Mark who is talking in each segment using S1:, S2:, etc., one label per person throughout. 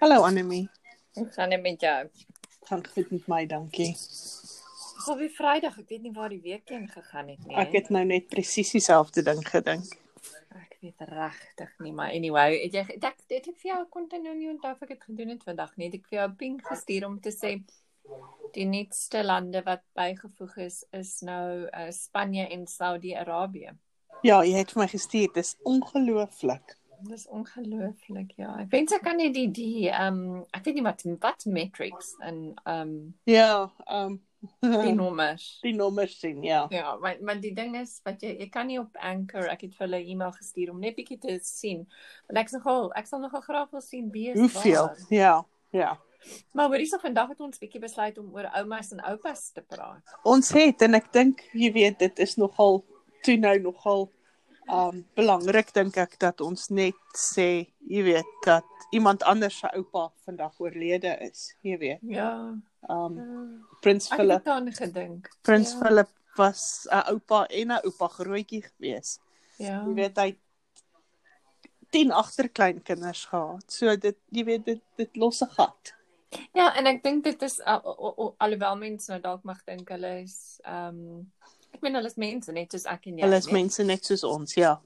S1: Hallo Annemie.
S2: Hoe gaan dit met jou?
S1: Gaan goed met my, dankie.
S2: Dis al weer Vrydag. Ek weet nie waar die week heen gegaan het nie.
S1: Ek het nou net presies dieselfde ding gedink.
S2: ek weet regtig nie, maar anyway, het jy het ek het ek vir jou kon nou nie onthou of ek dit gedoen het vandag nie. Het ek vir jou 'n ping gestuur om te sê die nuutste lande wat bygevoeg is is nou uh, Spanje en Saudi-Arabië.
S1: Ja, jy het vir my gestuur, dis ongelooflik.
S2: Dis ongelooflik, ja. Ek wens ek kan net die die ehm um, ek weet nie wat wat metrics en ehm um,
S1: Ja, ehm
S2: die
S1: um,
S2: nommers.
S1: die nommers sien, ja.
S2: Ja, maar maar die ding is wat jy jy kan nie op Anchor, ek het vir hulle 'n e-mail gestuur om net bietjie te sien. Want ek's nogal ek sal nogal graag wil sien wie is
S1: Hoeveel?
S2: waar.
S1: Ja, ja.
S2: Maar hoor hierso vandag het ons bietjie besluit om oor oumas en oupas te praat.
S1: Ons het en ek dink jy weet dit is nogal toe nou nogal ehm um, belangrik dink ek dat ons net sê, jy weet, dat iemand anders se oupa vandag oorlede is, jy weet.
S2: Ja.
S1: Ehm um,
S2: Uh,
S1: Prins
S2: ek
S1: Philip
S2: het daaraan gedink.
S1: Prins
S2: ja,
S1: ja. Philip was 'n oupa en 'n oupa grootjie gewees.
S2: Ja.
S1: Jy weet hy het 10 agterkleinkinders gehad. So dit jy weet dit dit los 'n gat.
S2: Ja, en ek dink dit is al, al, al, alhoewel mense nou dalk mag dink hulle is ehm um, ek meen hulle is mense net soos ek en jy.
S1: Ja, Hulle is
S2: né?
S1: mense net soos ons, ja.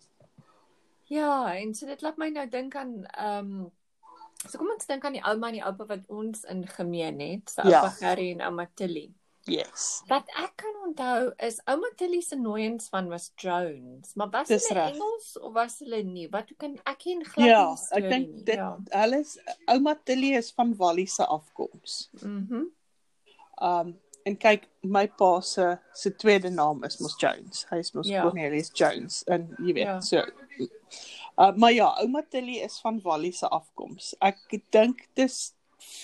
S2: Ja, en so dit laat my nou dink aan ehm um, so kom ons dink aan die ouma en die oupa wat ons in gemeen het, so
S1: Ja.
S2: oupa Gerry en ouma Tilly.
S1: Yes.
S2: Wat ek kan onthou is ouma Tilly se nooiens van was drones, maar was
S1: Dis
S2: hulle
S1: reg.
S2: Engels of was hulle nie? Wat kan ek ken glad
S1: Ja,
S2: nie die
S1: ek
S2: storie nie.
S1: dink dit
S2: Ja.
S1: hulle is ouma Tilly is van Walliese afkoms.
S2: Mhm.
S1: Um en kyk, my pa se se tweede naam is mos Jones. Hy is mos
S2: Ja.
S1: ja. Cornelius Jones en jy weet,
S2: Ja.
S1: ja. so Uh, maar ja, ouma Tilly is van Walliese afkoms. Ek dink dis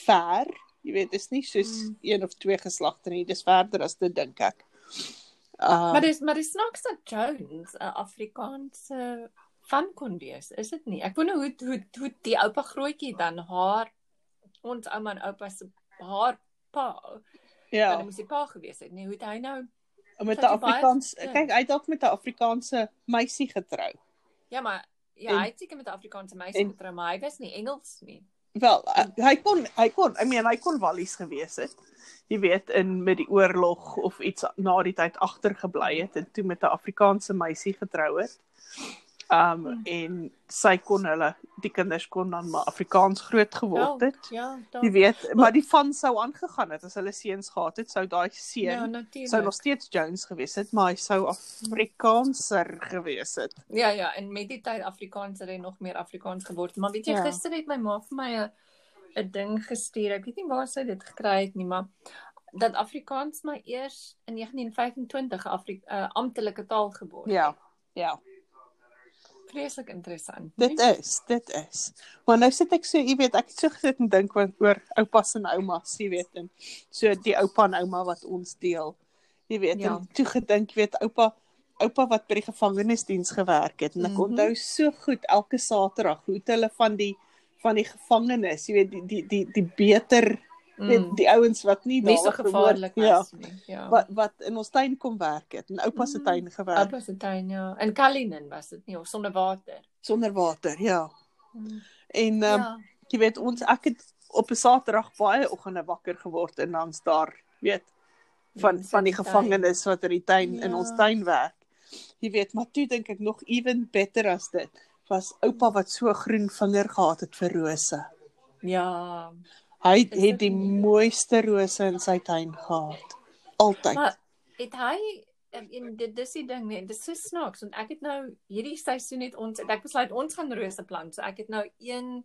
S1: ver. Jy weet, dis nie soos
S2: Mm.
S1: mm. een of twee geslagte nie. Dis verder as dit dink ek. Uh,
S2: Maar dis maar dis snaaks dat Jones 'n Afrikaanse van kon wees, is dit nie? Ek wonder hoe hoe hoe die oupa grootjie dan haar ons ouma en oupa se haar pa
S1: ja,
S2: ja. dan moes die pa gewees het. Nee, hoe het hy nou?
S1: met
S2: dat
S1: 'n
S2: jy baie
S1: Afrikaans
S2: goed
S1: kyk, hy het dalk met 'n Afrikaanse meisie getrou.
S2: Ja, maar ja,
S1: En-
S2: hy het seker met 'n Afrikaanse meisie
S1: en-
S2: getrou, maar hy was nie Engels nie.
S1: Wel, uh, hy kon hy kon, I mean, hy kon Wallies gewees het. Jy weet, in met die oorlog of iets na die tyd agtergebly het en toe met 'n Afrikaanse meisie getrou het. Um
S2: Hmm.
S1: en sy kon hulle die kinders kon dan maar Afrikaans groot geword het. Ja,
S2: Ja, ja,
S1: jy
S2: dan.
S1: weet, maar die van sou aangegaan het as hulle seuns gehad het, sou daai
S2: Ja,
S1: seun ja, sou nog
S2: natuurlik.
S1: steeds Jones gewees het, maar hy sou Afrikaanser gewees het.
S2: Ja, ja, en met die tyd Afrikaans het hy nog meer Afrikaans geword. Maar weet jy, ja.
S1: Ja.
S2: gister het my ma vir my 'n 'n ding gestuur. Ek weet nie waar sy dit gekry het nie, maar dat Afrikaans maar eers in 1925 'n Afri- 'n amptelike taal geword het.
S1: Ja. Ja.
S2: Vreeslik interessant. Mm.
S1: Dit is, dit is. Maar nou sit ek so, jy weet, ek het so gesit en dink want oor oupas en oumas, jy weet, en so die oupa en ouma wat ons deel. Jy weet,
S2: Ja.
S1: ja. en toe gedink, jy weet, oupa oupa wat by die gevangenisdiens gewerk het en ek
S2: Mhm.
S1: mm -hmm. onthou so goed elke Saterdag hoe het hulle van die van die gevangenes, jy weet, die die die, die beter, mm. weet,
S2: Mm,
S1: die ouens wat nie
S2: nie so
S1: daar gehoor-
S2: gevaarlik
S1: ja,
S2: was nie. Ja.
S1: wat wat in ons tuin kom werk het, in oupa se
S2: Mm.
S1: tuin gewerk
S2: Wat was dit dan ja? In Kalinin was dit nie of sonder water.
S1: sonder water, ja.
S2: Mm.
S1: En um, ja.
S2: Ja.
S1: jy weet ons ek het op 'n Saterdag baie oggende wakker geword en dan's daar weet van
S2: Mense
S1: van die
S2: in die
S1: gevangenes wat in die tuin ja. in
S2: Ja.
S1: ons tuin werk. Jy weet, maar toe dink ek nog even better as dit was oupa wat so 'n groen vinger gehad het vir rose.
S2: Ja.
S1: Hy
S2: Is dit
S1: het die
S2: nie-
S1: mooiste rose in sy tuin gehad. Altyd.
S2: Maar het hy ek en dit dis die ding net, dis so snaaks want ek het nou hierdie seisoen het ons het ek besluit ons gaan rose plant. So ek het nou een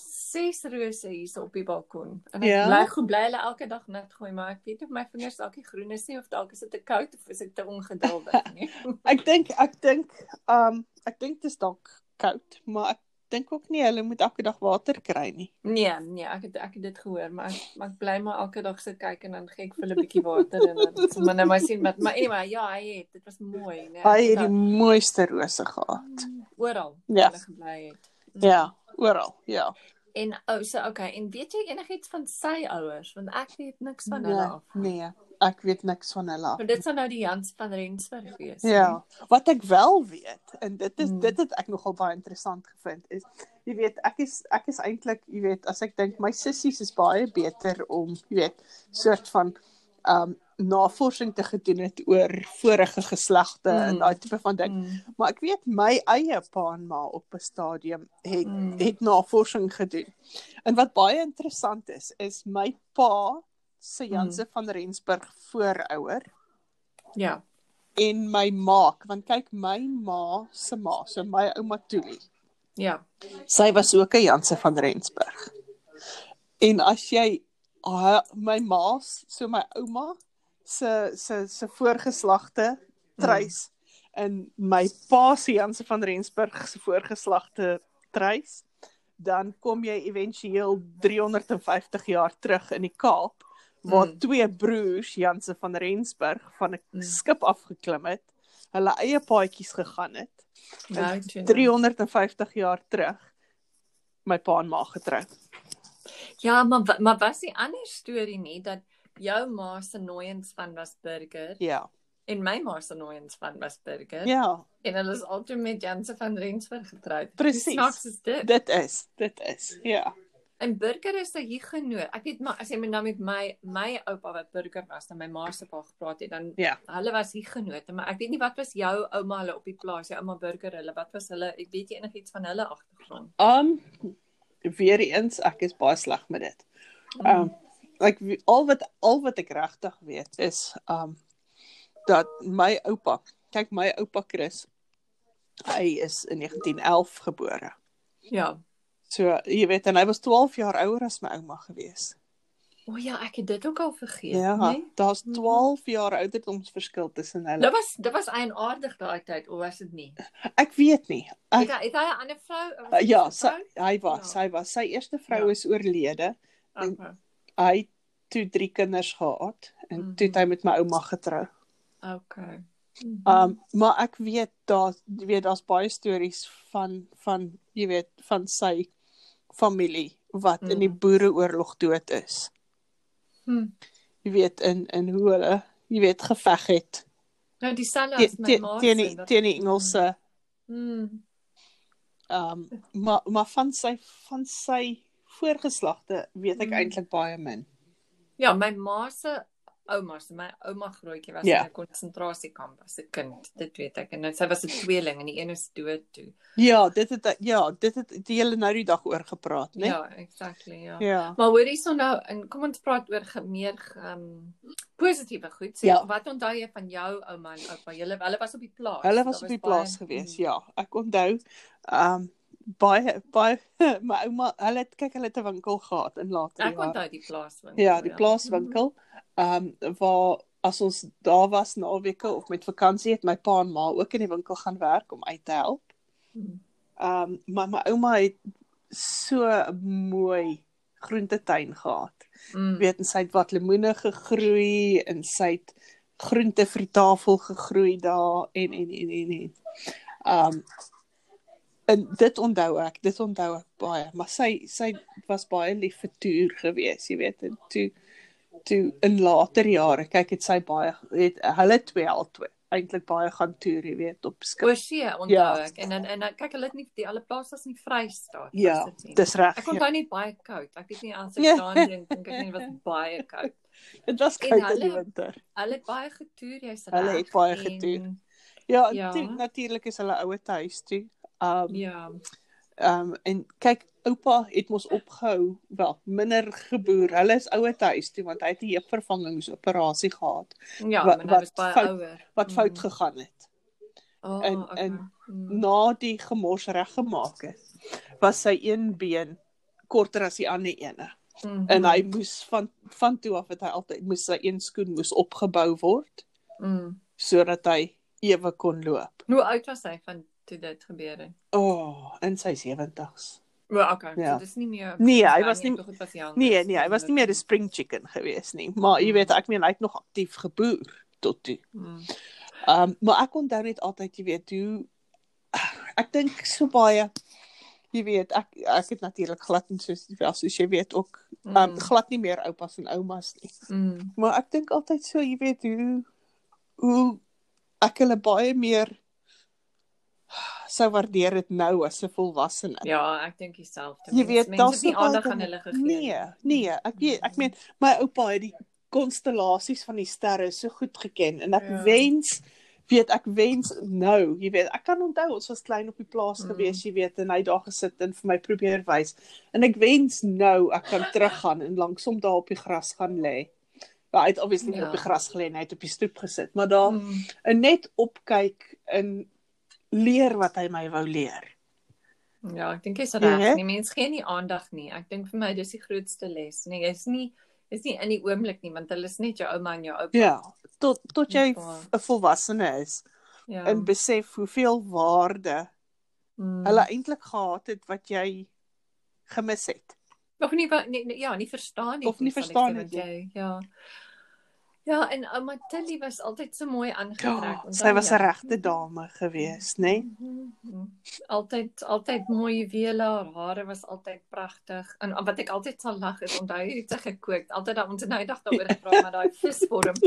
S2: ses rose hierso op die balkon. En ek
S1: Ja.
S2: bly goed bly hulle elke dag nat gooi, maar ek weet nie of my vingers dalk nie groen is nie of dalk is dit te koud of is ek te ongeduldig nie.
S1: Ek dink ek dink um ek dink dit is dalk koud, maar ek dink ook nie hulle moet elke dag water kry nie.
S2: Nee, nee, ek het ek het dit gehoor, maar ek maar ek bly maar elke dag sit kyk en dan gee ek vir hulle 'n bietjie water en dan sommer nou maar sien wat maar anyway, ja, hy het, dit was mooi, nee.
S1: Hy het die mooiste rose gehad.
S2: oral
S1: Ja.
S2: waar hulle gebly het. Mm.
S1: Ja, oral, ja.
S2: En ou oh, so okay, en weet jy enigiets van sy ouers? Want ek weet niks van hulle af.
S1: Nee, ek weet niks van hulle af.
S2: Maar dit sou nou die Jans van Rensburg wees.
S1: Ja, wat ek wel weet en dit is
S2: Hmm.
S1: dit het ek nogal baie interessant gevind is jy weet ek is ek is eintlik jy weet as ek dink my sissies is baie beter om jy weet soort van um navorsing te gedoen het oor vorige geslagte mm. en
S2: Mm.
S1: daai tipe van ding. Mm. Maar ek weet my eie pa en ma op 'n stadium het mm. het navorsing gedoen. En wat baie interessant is is my pa se Janse mm. van Rensburg voorouer
S2: Ja.
S1: en my maak want kyk my ma se ma so my ouma Tuli
S2: Ja.
S1: sy was ook 'n Janse van Rensburg. En as jy haar- my ma, so my ouma se se se voorgeslagte treis mm. in my pa se Janse van Rensburg se voorgeslagte treis, dan kom jy éventueel 350 jaar terug in die Kaap waar mm.
S2: Mm.
S1: twee broers Janse van Rensburg van 'n
S2: Mm.
S1: mm. skip afgeklim het, hulle eie paadjies gegaan het
S2: Nou, toe nou.
S1: 350 jaar terug my pa en ma getrou.
S2: Ja, maar wa- maar was die ander storie nie dat jou ma se nooiens van was burger
S1: Ja.
S2: en my ma se nooiens van was burger
S1: Ja,
S2: en hulle is altyd met Janse van Rensburg getroud.
S1: Presies.
S2: Hoe Snaaks is dit.
S1: dit is, dit is. Ja.
S2: En burger is 'n hugenoot. Ek weet maar as jy met nou met my my oupa wat burger was en my ma se pa gepraat het dan
S1: Ja.
S2: hulle was hugenote, maar ek weet nie wat was jou ouma hulle op die plaas, jou ouma burger hulle, wat was hulle? Ek weet jy enigiets van hulle agtergrond?
S1: Um weer eens, ek is baie sleg met dit. Um ek we- al wat al wat ek regtig weet is um dat my oupa, kyk my oupa Chris, hy is in 1911 gebore.
S2: Ja.
S1: So jy weet en hy was 12 jaar ouer as my ouma gewees.
S2: O oh ja, ek het dit ook al vergeet,
S1: Ja,
S2: né?
S1: daar's
S2: Mhm.
S1: 12 jaar ouderdomsverskil tussen hulle.
S2: Dit was dit was eienaardig daai tyd, of was dit nie?
S1: Ek weet nie. Ek
S2: Het hy het hy 'n ander vrou? of
S1: Uh,
S2: was
S1: ja,
S2: dit sy
S1: sy,
S2: vrou?
S1: hy was,
S2: Ja.
S1: hy was sy eerste vrou
S2: Ja.
S1: is oorlede. nee.
S2: Okay.
S1: Hy het toe drie kinders gehad en
S2: Mhm.
S1: toe het hy met my ouma getrou.
S2: Okay. Mhm.
S1: Um maar ek weet daar jy weet daar's baie stories van van jy weet van sy familie wat in die
S2: Mhm.
S1: boereoorlog dood is.
S2: Hmm.
S1: Jy weet in in hoe hulle jy weet geveg het
S2: Nou dieselfde
S1: te-
S2: as my
S1: te-
S2: ma. se,
S1: teen die
S2: dat-
S1: teen die Engelse
S2: Hmm. Hm.
S1: um maar maar van sy van sy voorgeslagte weet ek
S2: Mhm.
S1: eintlik baie min.
S2: Ja, my ma se ouma, se my ouma grootjie was
S1: Ja.
S2: in 'n konsentrasiekamp as 'n kind. Dit weet ek en sy was 'n tweeling en die een is dood toe.
S1: Ja, dit het ja, dit het die hele nou die dag oor gepraat, né?
S2: Nee? Ja, exactly, ja. ja.
S1: Ja.
S2: Maar hoor hierson nou, en kom ons praat oor ge- meer ehm um, positiewe goed. So, ja.
S1: Ja.
S2: Wat onthou jy van jou ouma en oupa? Julle hulle was op die plaas.
S1: Hulle
S2: Daar
S1: was op die
S2: baie-
S1: plaas gewees.
S2: Hmm.
S1: Ja, ek onthou ehm um, baie baie my ouma, hulle het kyk hulle het 'n winkel gehad in later
S2: Mm. Ek onthou die plaaswinkel.
S1: Ja, die plaaswinkel ehm um, waar as ons daar was naweke of met vakansie het my pa en ma ook in die winkel gaan werk om uit te help.
S2: Mhm.
S1: Ehm um, maar my ouma het so 'n mooi groentetuin gehad.
S2: Mm.
S1: weet en sy het wat lemoene gegroei en sy het groente vir die tafel gegroei daar en en en en en. Um en dit onthou ek, dit onthou ek baie, maar sy sy was baie lief vir toer gewees, jy weet, en toe toe in later jare, kyk het sy baie het hulle twee al twee eintlik baie gaan toer, jy weet, op skip.
S2: Oor see onthou ja.
S1: Ja.
S2: ek en en, en ek- kyk hulle het nie die alle plase was nie Vrystaat was
S1: Ja,
S2: dit nie.
S1: dis reg.
S2: Ek onthou net baie koud. Ek weet nie as ek
S1: Ja.
S2: daan dink dink ek nie was baie koud.
S1: Dit was
S2: en
S1: koud in die
S2: hulle-
S1: winter.
S2: Hulle het baie getoer, jy's reg.
S1: Hulle het baie
S2: en-
S1: getoer. Ja,
S2: Ja.
S1: ja. natuurlik is hulle ouer huis toe. Um
S2: Ja.
S1: Ehm um, en kyk, oupa het mos opgehou, wel, minder geboer. Hulle is ouer huis toe want hy het 'n heupvervangingsoperasie gehad
S2: Ja,
S1: Wat-
S2: maar nou
S1: wat
S2: was baie
S1: fout-
S2: ouer.
S1: wat fout
S2: Mm.
S1: gegaan het.
S2: Oh,
S1: en-
S2: okay.
S1: en-
S2: Mm.
S1: Na die gemors reggemaak is, was sy een been korter as die ander ene.
S2: Mm.
S1: En hy moes van van toe af het hy altyd moes sy een skoen moes opgebou word
S2: Mm.
S1: sodat hy ewe kon loop.
S2: Hoe oud was hy van toe dit gebeur het?
S1: O, oh, in sy 70's.
S2: O, okay.
S1: Ja.
S2: So dis nie meer
S1: Nee, hy
S2: Ja,
S1: was nie
S2: ek dink dit was die
S1: Nee,
S2: anders.
S1: nee, hy was nie meer 'n spring chicken gewees nie, maar jy weet, ek meen hy het nog aktief geboer tot toe.
S2: Mm.
S1: Ehm um, maar ek onthou net altyd, jy weet, hoe ek dink so baie jy weet, ek ek het natuurlik glad en soos wel soos jy weet ook
S2: Mm.
S1: um, glad nie meer oupas en oumas nie.
S2: Mm.
S1: Maar ek dink altyd so, jy weet, hoe hoe ek hulle baie meer sou waardeer dit nou as 'n volwassene.
S2: Ja, ek dink dieselfde.
S1: Jy weet,
S2: Mense
S1: daar's
S2: het nie
S1: nog
S2: aandag
S1: altyd-
S2: aan hulle gegee. nie.
S1: Nee, nee, ek weet, ek meen my oupa het die konstellasies van die sterre so goed geken en ek
S2: Ja.
S1: ja. wens weet ek wens nou, jy weet, ek kan onthou ons was klein op die plaas
S2: Mm.
S1: mm. gewees, jy weet, en hy het daar gesit en vir my probeer wys. En ek wens nou ek kan teruggaan en langsom daar op die gras gaan lê. Maar hy het obviously ja.
S2: Ja.
S1: op die gras gelê en hy het op die stoep gesit, maar daar mm.
S2: Mm.
S1: net opkyk en leer wat hy my wou leer.
S2: Ja, ek dink jy's
S1: Ja,
S2: reg.
S1: hè?
S2: Nee, mense gee nie aandag nie. Ek dink vir my dis die grootste les. Nee, jy's nie is nie in die oomblik nie, want hulle is net jou ouma en jou oupa.
S1: Ja, tot tot jy
S2: Dis waar.
S1: 'n volwassene is.
S2: Ja.
S1: en besef hoeveel waarde
S2: mm.
S1: hulle eintlik gehad het wat jy gemis het.
S2: nog nie wa- nee, nee, ja, nie verstaan nie.
S1: Of nie
S2: sal ek
S1: verstaan
S2: sê,
S1: het
S2: want jy. Ja. Ja, en ouma Tilly was altyd so mooi aangetrek.
S1: Ja, sy was 'n regte dame gewees, né? Nee?
S2: Nee? Altyd altyd mooi juwele, haar hare was altyd pragtig. En wat ek altyd sal lag is onthou jy het sy gekook. Altyd dan ons het nou eendag daaroor gepraat met daai visvorm.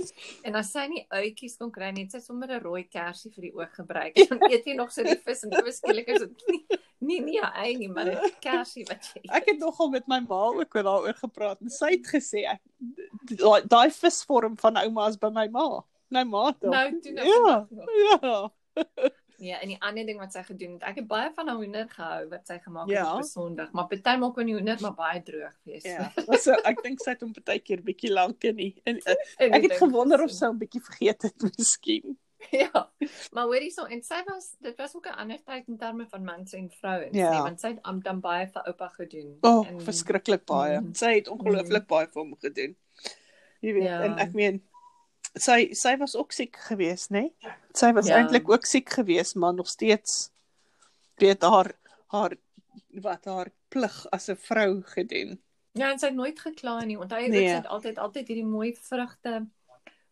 S2: En as sy nie uitjies kon kry net sy sommer 'n rooi kersie vir die oog gebruik. En dan eet jy nog so die vis en ewe skielik is dit nie nie nie ja, ei nie, maar 'n kersie wat jy.
S1: Ek het nogal met my ma ook oor daaroor gepraat en sy het gesê ek daai- daai visvorm van ouma is by my ma. Nou ma tog.
S2: nou doen ek
S1: ja.
S2: vandag nog.
S1: Ja.
S2: Ja, en die ander ding wat sy gedoen het, ek het baie van haar hoender gehou wat sy gemaak het
S1: Ja.
S2: op 'n Sondag, maar partymal kon die hoender maar baie droog wees.
S1: Ja. Was so ek dink sy het hom baie keer bietjie lank in die in
S2: En
S1: ek het
S2: die ding
S1: gewonder of
S2: gesien.
S1: sy hom bietjie vergeet het miskien.
S2: Ja. Maar hoor hierso, en sy was dit was ook 'n ander tyd in terme van mans en vrouens,
S1: Ja.
S2: nee, want sy het amper baie vir oupa gedoen.
S1: O, oh,
S2: En-
S1: verskriklik baie.
S2: Mm.
S1: Mm. Sy het ongelooflik baie vir hom gedoen. Jy weet,
S2: Ja.
S1: ja. en ek meen sy sy was ook siek geweest, né? Nee? Sy was
S2: Ja.
S1: ja. eintlik ook siek geweest, maar nog steeds weet haar haar wat haar plig as 'n vrou gedoen.
S2: Ja, en sy het nooit gekla nie. Onthou jy ook
S1: Nee.
S2: sy het altyd altyd hierdie mooi vrugte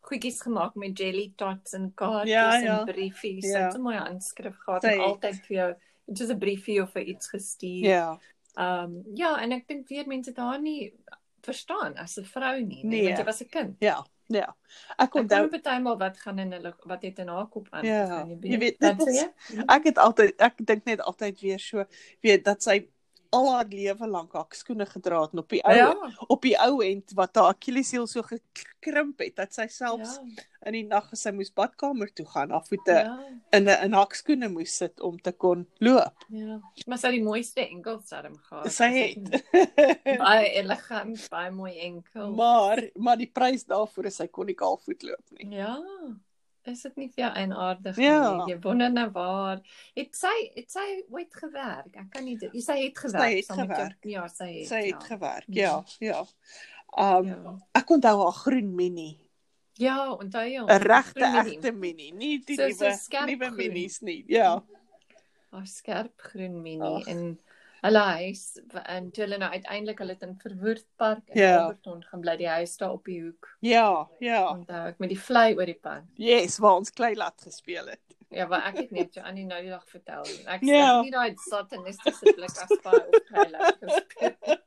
S2: goedjies gemaak met jelly tots en kaartjies
S1: Ja, ja.
S2: en briefies. Sy
S1: Ja.
S2: het so mooi handskrif gehad
S1: Sy
S2: en
S1: het.
S2: altyd vir jou dit is 'n briefie of vir iets gestuur.
S1: Ja.
S2: Ehm um, ja, en ek dink weer mense het haar nie verstaan as 'n vrou nie, nee.
S1: Nee.
S2: want jy was 'n kind.
S1: Ja. Ja. Ek
S2: Ek onthou
S1: onthou
S2: partymal wat gaan in hulle wat het in haar kop aan.
S1: Ja,
S2: gegaan,
S1: jy weet,
S2: Wat
S1: dit
S2: sê
S1: is-
S2: jy?
S1: ek het altyd ek dink net altyd weer so weet dat sy al haar lewe lank haar skoene gedra het en op die ou
S2: Ja,
S1: ja. op die ou end wat haar Achilleshiel so gekrimp het dat sy selfs
S2: ja,
S1: in die nag as sy moes badkamer toe gaan, haar voete ja.
S2: ja,
S1: in 'n in haar skoene moes sit om te kon loop.
S2: ja. Maar sy het die mooiste enkels daarom gehad.
S1: Sy
S2: het baie elegant, baie mooi enkel.
S1: maar maar die prys daarvoor is sy kon nie kaalvoet loop nie.
S2: Ja. Is dit nie vir jou eienaardig
S1: Ja.
S2: nie? Jy wonder nou waar. Het sy het sy ooit gewerk? Ek kan nie dit. Sy het gewerk.
S1: het
S2: saam met jou-
S1: gewerk.
S2: Ja, sy het.
S1: Sy het
S2: ja.
S1: gewerk.
S2: Mhm.
S1: Ja, ja. Um ja.
S2: ja.
S1: ek onthou haar groen mini,
S2: Ja, onthou jy?
S1: 'n regte
S2: groen minie.
S1: egte mini, nie die
S2: So- so
S1: nuwe
S2: skerp
S1: nuwe
S2: groen.
S1: minis nie. Ja.
S2: haar skerp groen minie
S1: Ag.
S2: en hulle huis en toe hulle nou uiteindelik hulle het in Verwoerdpark in
S1: Ja.
S2: Alberton gaan bly, die huis daar op die hoek.
S1: Ja, ja.
S2: Onthou ek met die vlei oor die pad.
S1: Yes, waar ons klei laat gespeel het.
S2: Ja, maar ek het net jou aan die nou die dag vertel. nie. Ek sê
S1: Ja.
S2: yeah. nie daai satanistiese blik as baie opkry.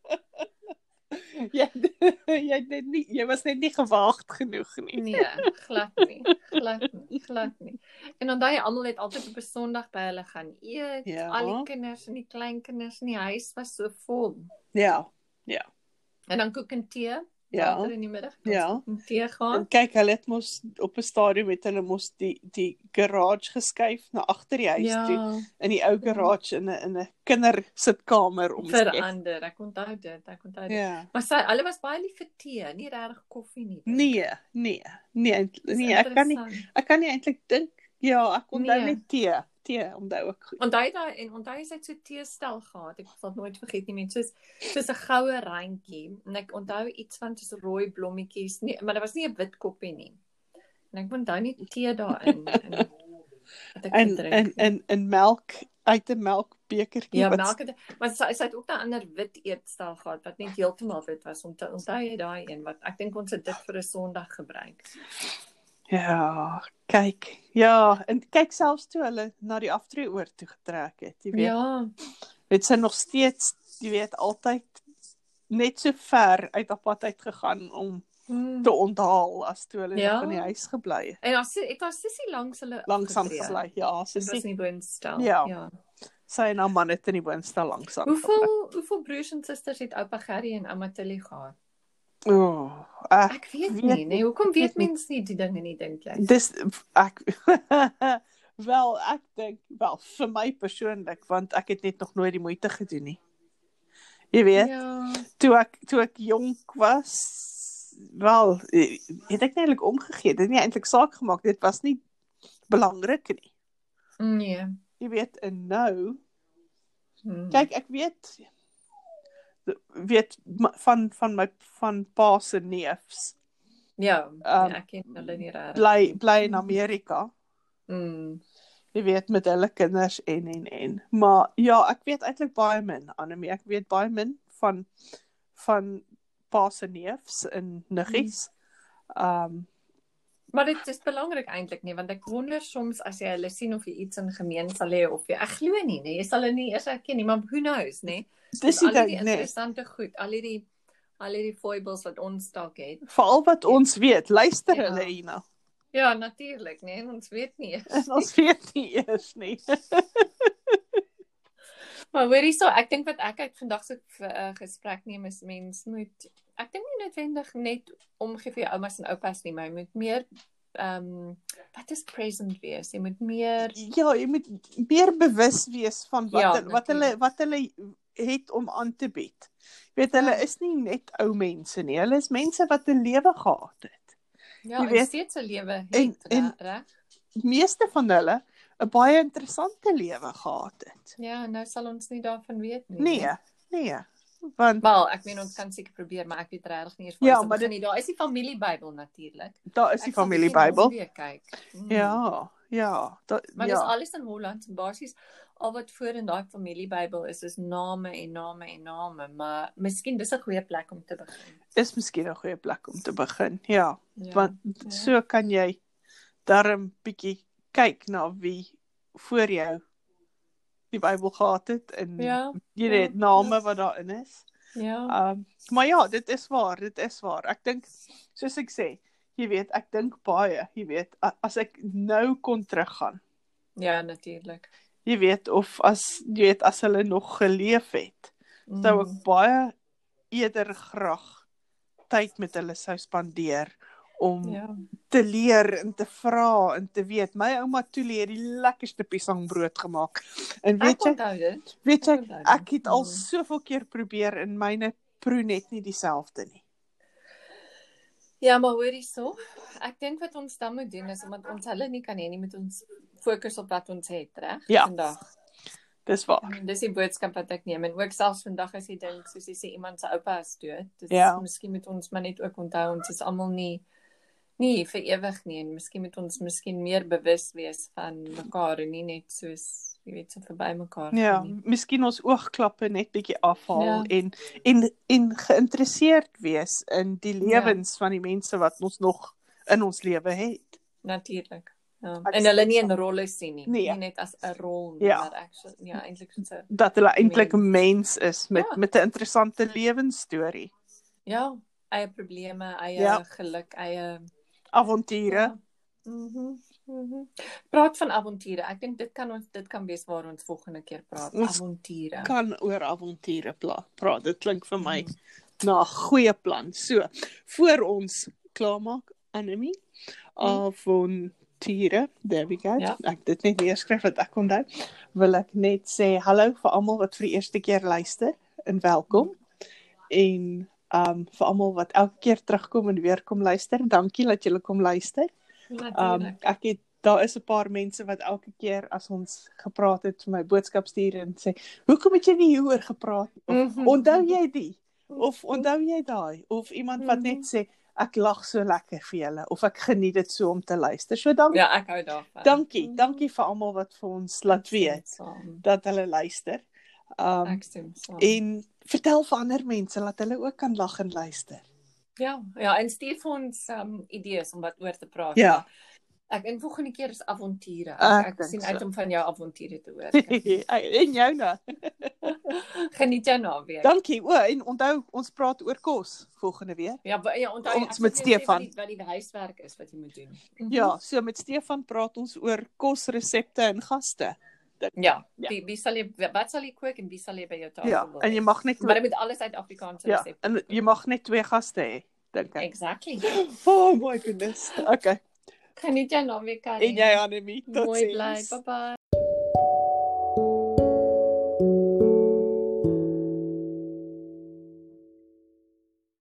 S1: Jy jy het net nie jy was net nie gewaagd genoeg nie.
S2: Nee, glad nie. Glad nie, glad nie. En onthou jy almal het altyd op 'n Sondag by hulle gaan eet.
S1: Ja.
S2: Al die kinders en die kleinkinders in die huis was so vol.
S1: Ja,
S2: En dan koek en tee.
S1: ja.
S2: Later in die middag.
S1: Ja.
S2: En tee gaan.
S1: En kyk, hulle het mos op 'n stadium het hulle mos die die garage geskuif na agter die huis
S2: Ja,
S1: toe in die ou garage in 'n in 'n kindersitkamer omskep.
S2: verander. Ek onthou dit, ek onthou dit. Ja.
S1: Ja.
S2: Maar sy hulle was baie lief vir tee, nie regtig koffie nie.
S1: Nee, nee, nee, eint-
S2: Dis
S1: nee, ek kan nie
S2: interessant.
S1: ek kan nie eintlik dink ja, ek onthou
S2: Nee.
S1: nee. net tee, tee onthou ek goed.
S2: Onthou daai en onthou jy sy het so teestel gehad. Ek sal dit nooit vergeet nie, mense, soos soos 'n goue randjie. En ek onthou iets van soos rooi blommetjies. Nee, maar dit was nie 'n wit koppie nie. En ek onthou nie tee daarin en wat ek
S1: En
S2: gedrink
S1: en
S2: het.
S1: en en melk uit 'n melkbekertjie
S2: Ja,
S1: wat-
S2: melk het maar sy, sy het ook 'n ander wit eetstel gehad wat net heeltemal wit was. Onthou, onthou jy daai een wat ek dink ons het dit vir 'n Sondag gebruik.
S1: Ja, kyk. Ja, en kyk selfs toe hulle na die aftree oor toe getrek het, jy weet.
S2: Ja,
S1: het sy nog steeds, jy weet, altyd net so ver uit haar pad uit gegaan om
S2: Mm.
S1: te onthaal as toe hulle
S2: Ja.
S1: nog in die huis gebly het.
S2: En ons het ons sussie langs hulle
S1: Langsaam
S2: afgetree.
S1: gebly. Ja,
S2: Dit was
S1: sussie.
S2: nie woonstel.
S1: Ja.
S2: ja.
S1: Sy en haar man het in die woonstel langsam.
S2: Hoeveel hoeveel broers en susters het oupa Gerry en ouma Tilly gehad?
S1: O, oh, ek
S2: Ek weet
S1: Weet
S2: nie, nee, hoekom weet
S1: weet nie.
S2: mense nie die dinge nie dink jy?
S1: dis ek wel ek dink wel vir my persoonlik want ek het net nog nooit die moeite gedoen nie. Jy weet,
S2: Ja.
S1: toe ek toe ek jonk was, wel eh, het ek nie eintlik omgegee, dit het nie eintlik saak gemaak, dit was nie belangrik nie.
S2: Nee.
S1: Jy weet, en nou,
S2: Hmm.
S1: kyk, ek weet weet ma- van van my van pa se neefs
S2: ja,
S1: ehm,
S2: nee, ek ken hulle nie reg.
S1: bly bly in Amerika.
S2: Mm.
S1: Jy weet met hulle kinders en en en. Maar ja, ek weet eintlik baie min, Annelie, ek weet baie min van van pa se neefs en niggies. Ehm um,
S2: Maar dit is belangrik eintlik nie, want ek wonder soms as jy hulle sien of jy iets in gemeen sal hê of jy ek glo nie, nee, jy sal hulle nie eers herken nie, maar who knows, nee.
S1: dis die
S2: al
S1: ding,
S2: hierdie
S1: nee.
S2: interessante goed, al hierdie al hierdie foibles wat ons dalk het.
S1: Veral wat ons weet, luister
S2: Ja.
S1: ja. hulle hierna.
S2: Ja, natuurlik, nee, en ons weet nie.
S1: En ons weet nie eers nie.
S2: Maar hoor hierso, ek dink wat ek uit vandag se uh, gesprek neem is mens moet ek dink nie noodwendig net omgee vir jou oumas en oupas nie, maar jy moet meer ehm um, wat is present wees. Jy moet meer
S1: Ja, jy moet meer bewus wees van wat
S2: Ja,
S1: ja, wat hulle wat hulle het om aan te bied. Jy weet hulle
S2: Ja.
S1: is nie net ou mense nie. Hulle is mense wat 'n lewe gehad het.
S2: ja,
S1: Jy
S2: jy
S1: weet,
S2: steeds 'n lewe
S1: en-
S2: het,
S1: en-
S2: reg?
S1: Die meeste van hulle 'n baie interessante lewe gehad het.
S2: Ja, nou sal ons nie daarvan weet nie.
S1: Nee, nee. Want
S2: Wel, ek meen ons kan seker probeer, maar ek weet regtig nie eers
S1: Ja,
S2: ons
S1: maar
S2: begin nie. Daar is die familiebybel natuurlik.
S1: daar is die
S2: Ek sal
S1: familiebybel.
S2: begin ons weer Kyk. Mm.
S1: Ja, ja, da,
S2: Maar ja. dis
S1: ja.
S2: alles in Holland en basies al wat voor in daai familiebybel is is name en name en name, maar miskien dis 'n goeie plek om te begin.
S1: Is miskien 'n goeie plek om te begin. Ja.
S2: Ja.
S1: want
S2: ja.
S1: so kan jy darm bietjie kyk na wie voor jou die Bybel gehad het en
S2: ja,
S1: jy weet
S2: ja.
S1: name wat daarin is.
S2: ja.
S1: Um maar ja, dit is waar, dit is waar. Ek dink soos ek sê, jy weet, ek dink baie, jy weet, a- as ek nou kon teruggaan,
S2: Ja, natuurlik.
S1: jy weet of as jy weet as hulle nog geleef het,
S2: Mm.
S1: sou ek baie eerder graag tyd met hulle sou spandeer om ja.
S2: ja.
S1: te leer en te vra en te weet. My ouma Tuli het die lekkerste piesangbrood gemaak. En
S2: Ek
S1: weet jy,
S2: onthou dit.
S1: weet jy,
S2: ek onthou dit.
S1: ek het al
S2: Mm.
S1: soveel keer probeer en myne proe net nie dieselfde nie.
S2: Ja, maar hoor hierso. Ek dink wat ons dan moet doen is omdat ons hulle nie kan hê nie, moet ons fokus op wat ons het, reg?
S1: Ja.
S2: Vandag.
S1: Dis waar.
S2: Dis die boodskap wat ek neem en ook selfs vandag as jy dink soos jy sê iemand se oupa is dood, dis ja.
S1: Ja.
S2: miskien moet ons maar net ook onthou ons is almal nie nie hier vir ewig nie en miskien moet ons miskien meer bewus wees van mekaar en nie net soos jy weet so verby mekaar
S1: Ja,
S2: gaan nie.
S1: miskien ons oogklappe net bietjie afhaal
S2: Ja.
S1: ja. en en en geïnteresseerd wees in die lewens ja. van die mense wat ons nog in ons lewe het.
S2: Natuurlik. Ja.
S1: Ek
S2: En hulle
S1: stem
S2: nie in
S1: saam.
S2: rolle sien nie,
S1: Nee.
S2: nie net as 'n rol nie, ja.
S1: Ja.
S2: maar actually ja, eintlik so 'n
S1: Dat hulle eintlik 'n mens is met
S2: Ja.
S1: ja. met 'n interessante lewensstorie,
S2: ja, eie probleme, eie ja.
S1: Ja.
S2: geluk, eie
S1: avonture. Ja.
S2: Mhm. mhm. Praat van avonture. Ek dink dit kan ons dit kan wees waar ons volgende keer praat.
S1: Ons
S2: Avonture.
S1: kan oor avonture pla- praat. Dit klink vir my na 'n goeie plan. So, voor ons klaarmaak, Anemie, avonture, there we go.
S2: Mhm. Ja.
S1: Ek dit net neerskryf wat ek onthou. Wil ek net sê hallo vir almal wat vir die eerste keer luister en welkom. En um vir almal wat elke keer terugkom en weer kom luister, dankie dat julle kom luister. Um
S2: Natuurlik.
S1: ek het daar is 'n paar mense wat elke keer as ons gepraat het vir my boodskap stuur en sê, "Hoekom het jy nie hieroor gepraat nie?" Of,
S2: Mhm.
S1: "Onthou jy dit?"
S2: Mm.
S1: Of "Onthou jy daai?" Of iemand wat
S2: Mhm.
S1: net sê, "Ek lag so lekker vir julle" of "Ek geniet dit so om te luister." So dankie,
S2: Ja, Mm. ek hou daarvan.
S1: dankie, dankie vir almal wat vir ons laat weet
S2: Saam.
S1: dat hulle luister. Um
S2: Ek stem saam.
S1: en vertel vir ander mense dat hulle ook kan lag en luister.
S2: Ja, ja, en stuur vir ons um idees om wat oor te praat.
S1: Ja.
S2: Ek in volgende keer is avonture. Ek,
S1: Ek
S2: ek, ek
S1: dink Ja.
S2: sien
S1: so.
S2: uit om van jou avonture te hoor.
S1: en jou nou.
S2: Geniet jou naweek.
S1: Dankie. O, en onthou, ons praat oor kos volgende week.
S2: Ja, wa- ja, onthou
S1: Ons
S2: ek
S1: met
S2: wil net sê
S1: Stefan.
S2: wat die- wat die huiswerk is wat jy moet doen.
S1: Ja, so met Stefan praat ons oor kosresepte en gaste.
S2: Ja,
S1: Ja.
S2: die wie sal jy wat sal jy kook en wie sal jy by jou tafel
S1: Ja,
S2: wil
S1: en jy
S2: hê?
S1: mag net
S2: maar dit moet alles uit Afrikaanse
S1: Ja,
S2: resepte.
S1: en jy mag net twee gaste hê, dink ek.
S2: Exactly.
S1: Oh my goodness. Okay.
S2: Geniet jou naweek, Karin.
S1: En jy ja, Anemie, tot
S2: mooi bly.
S1: sins.
S2: Bye bye.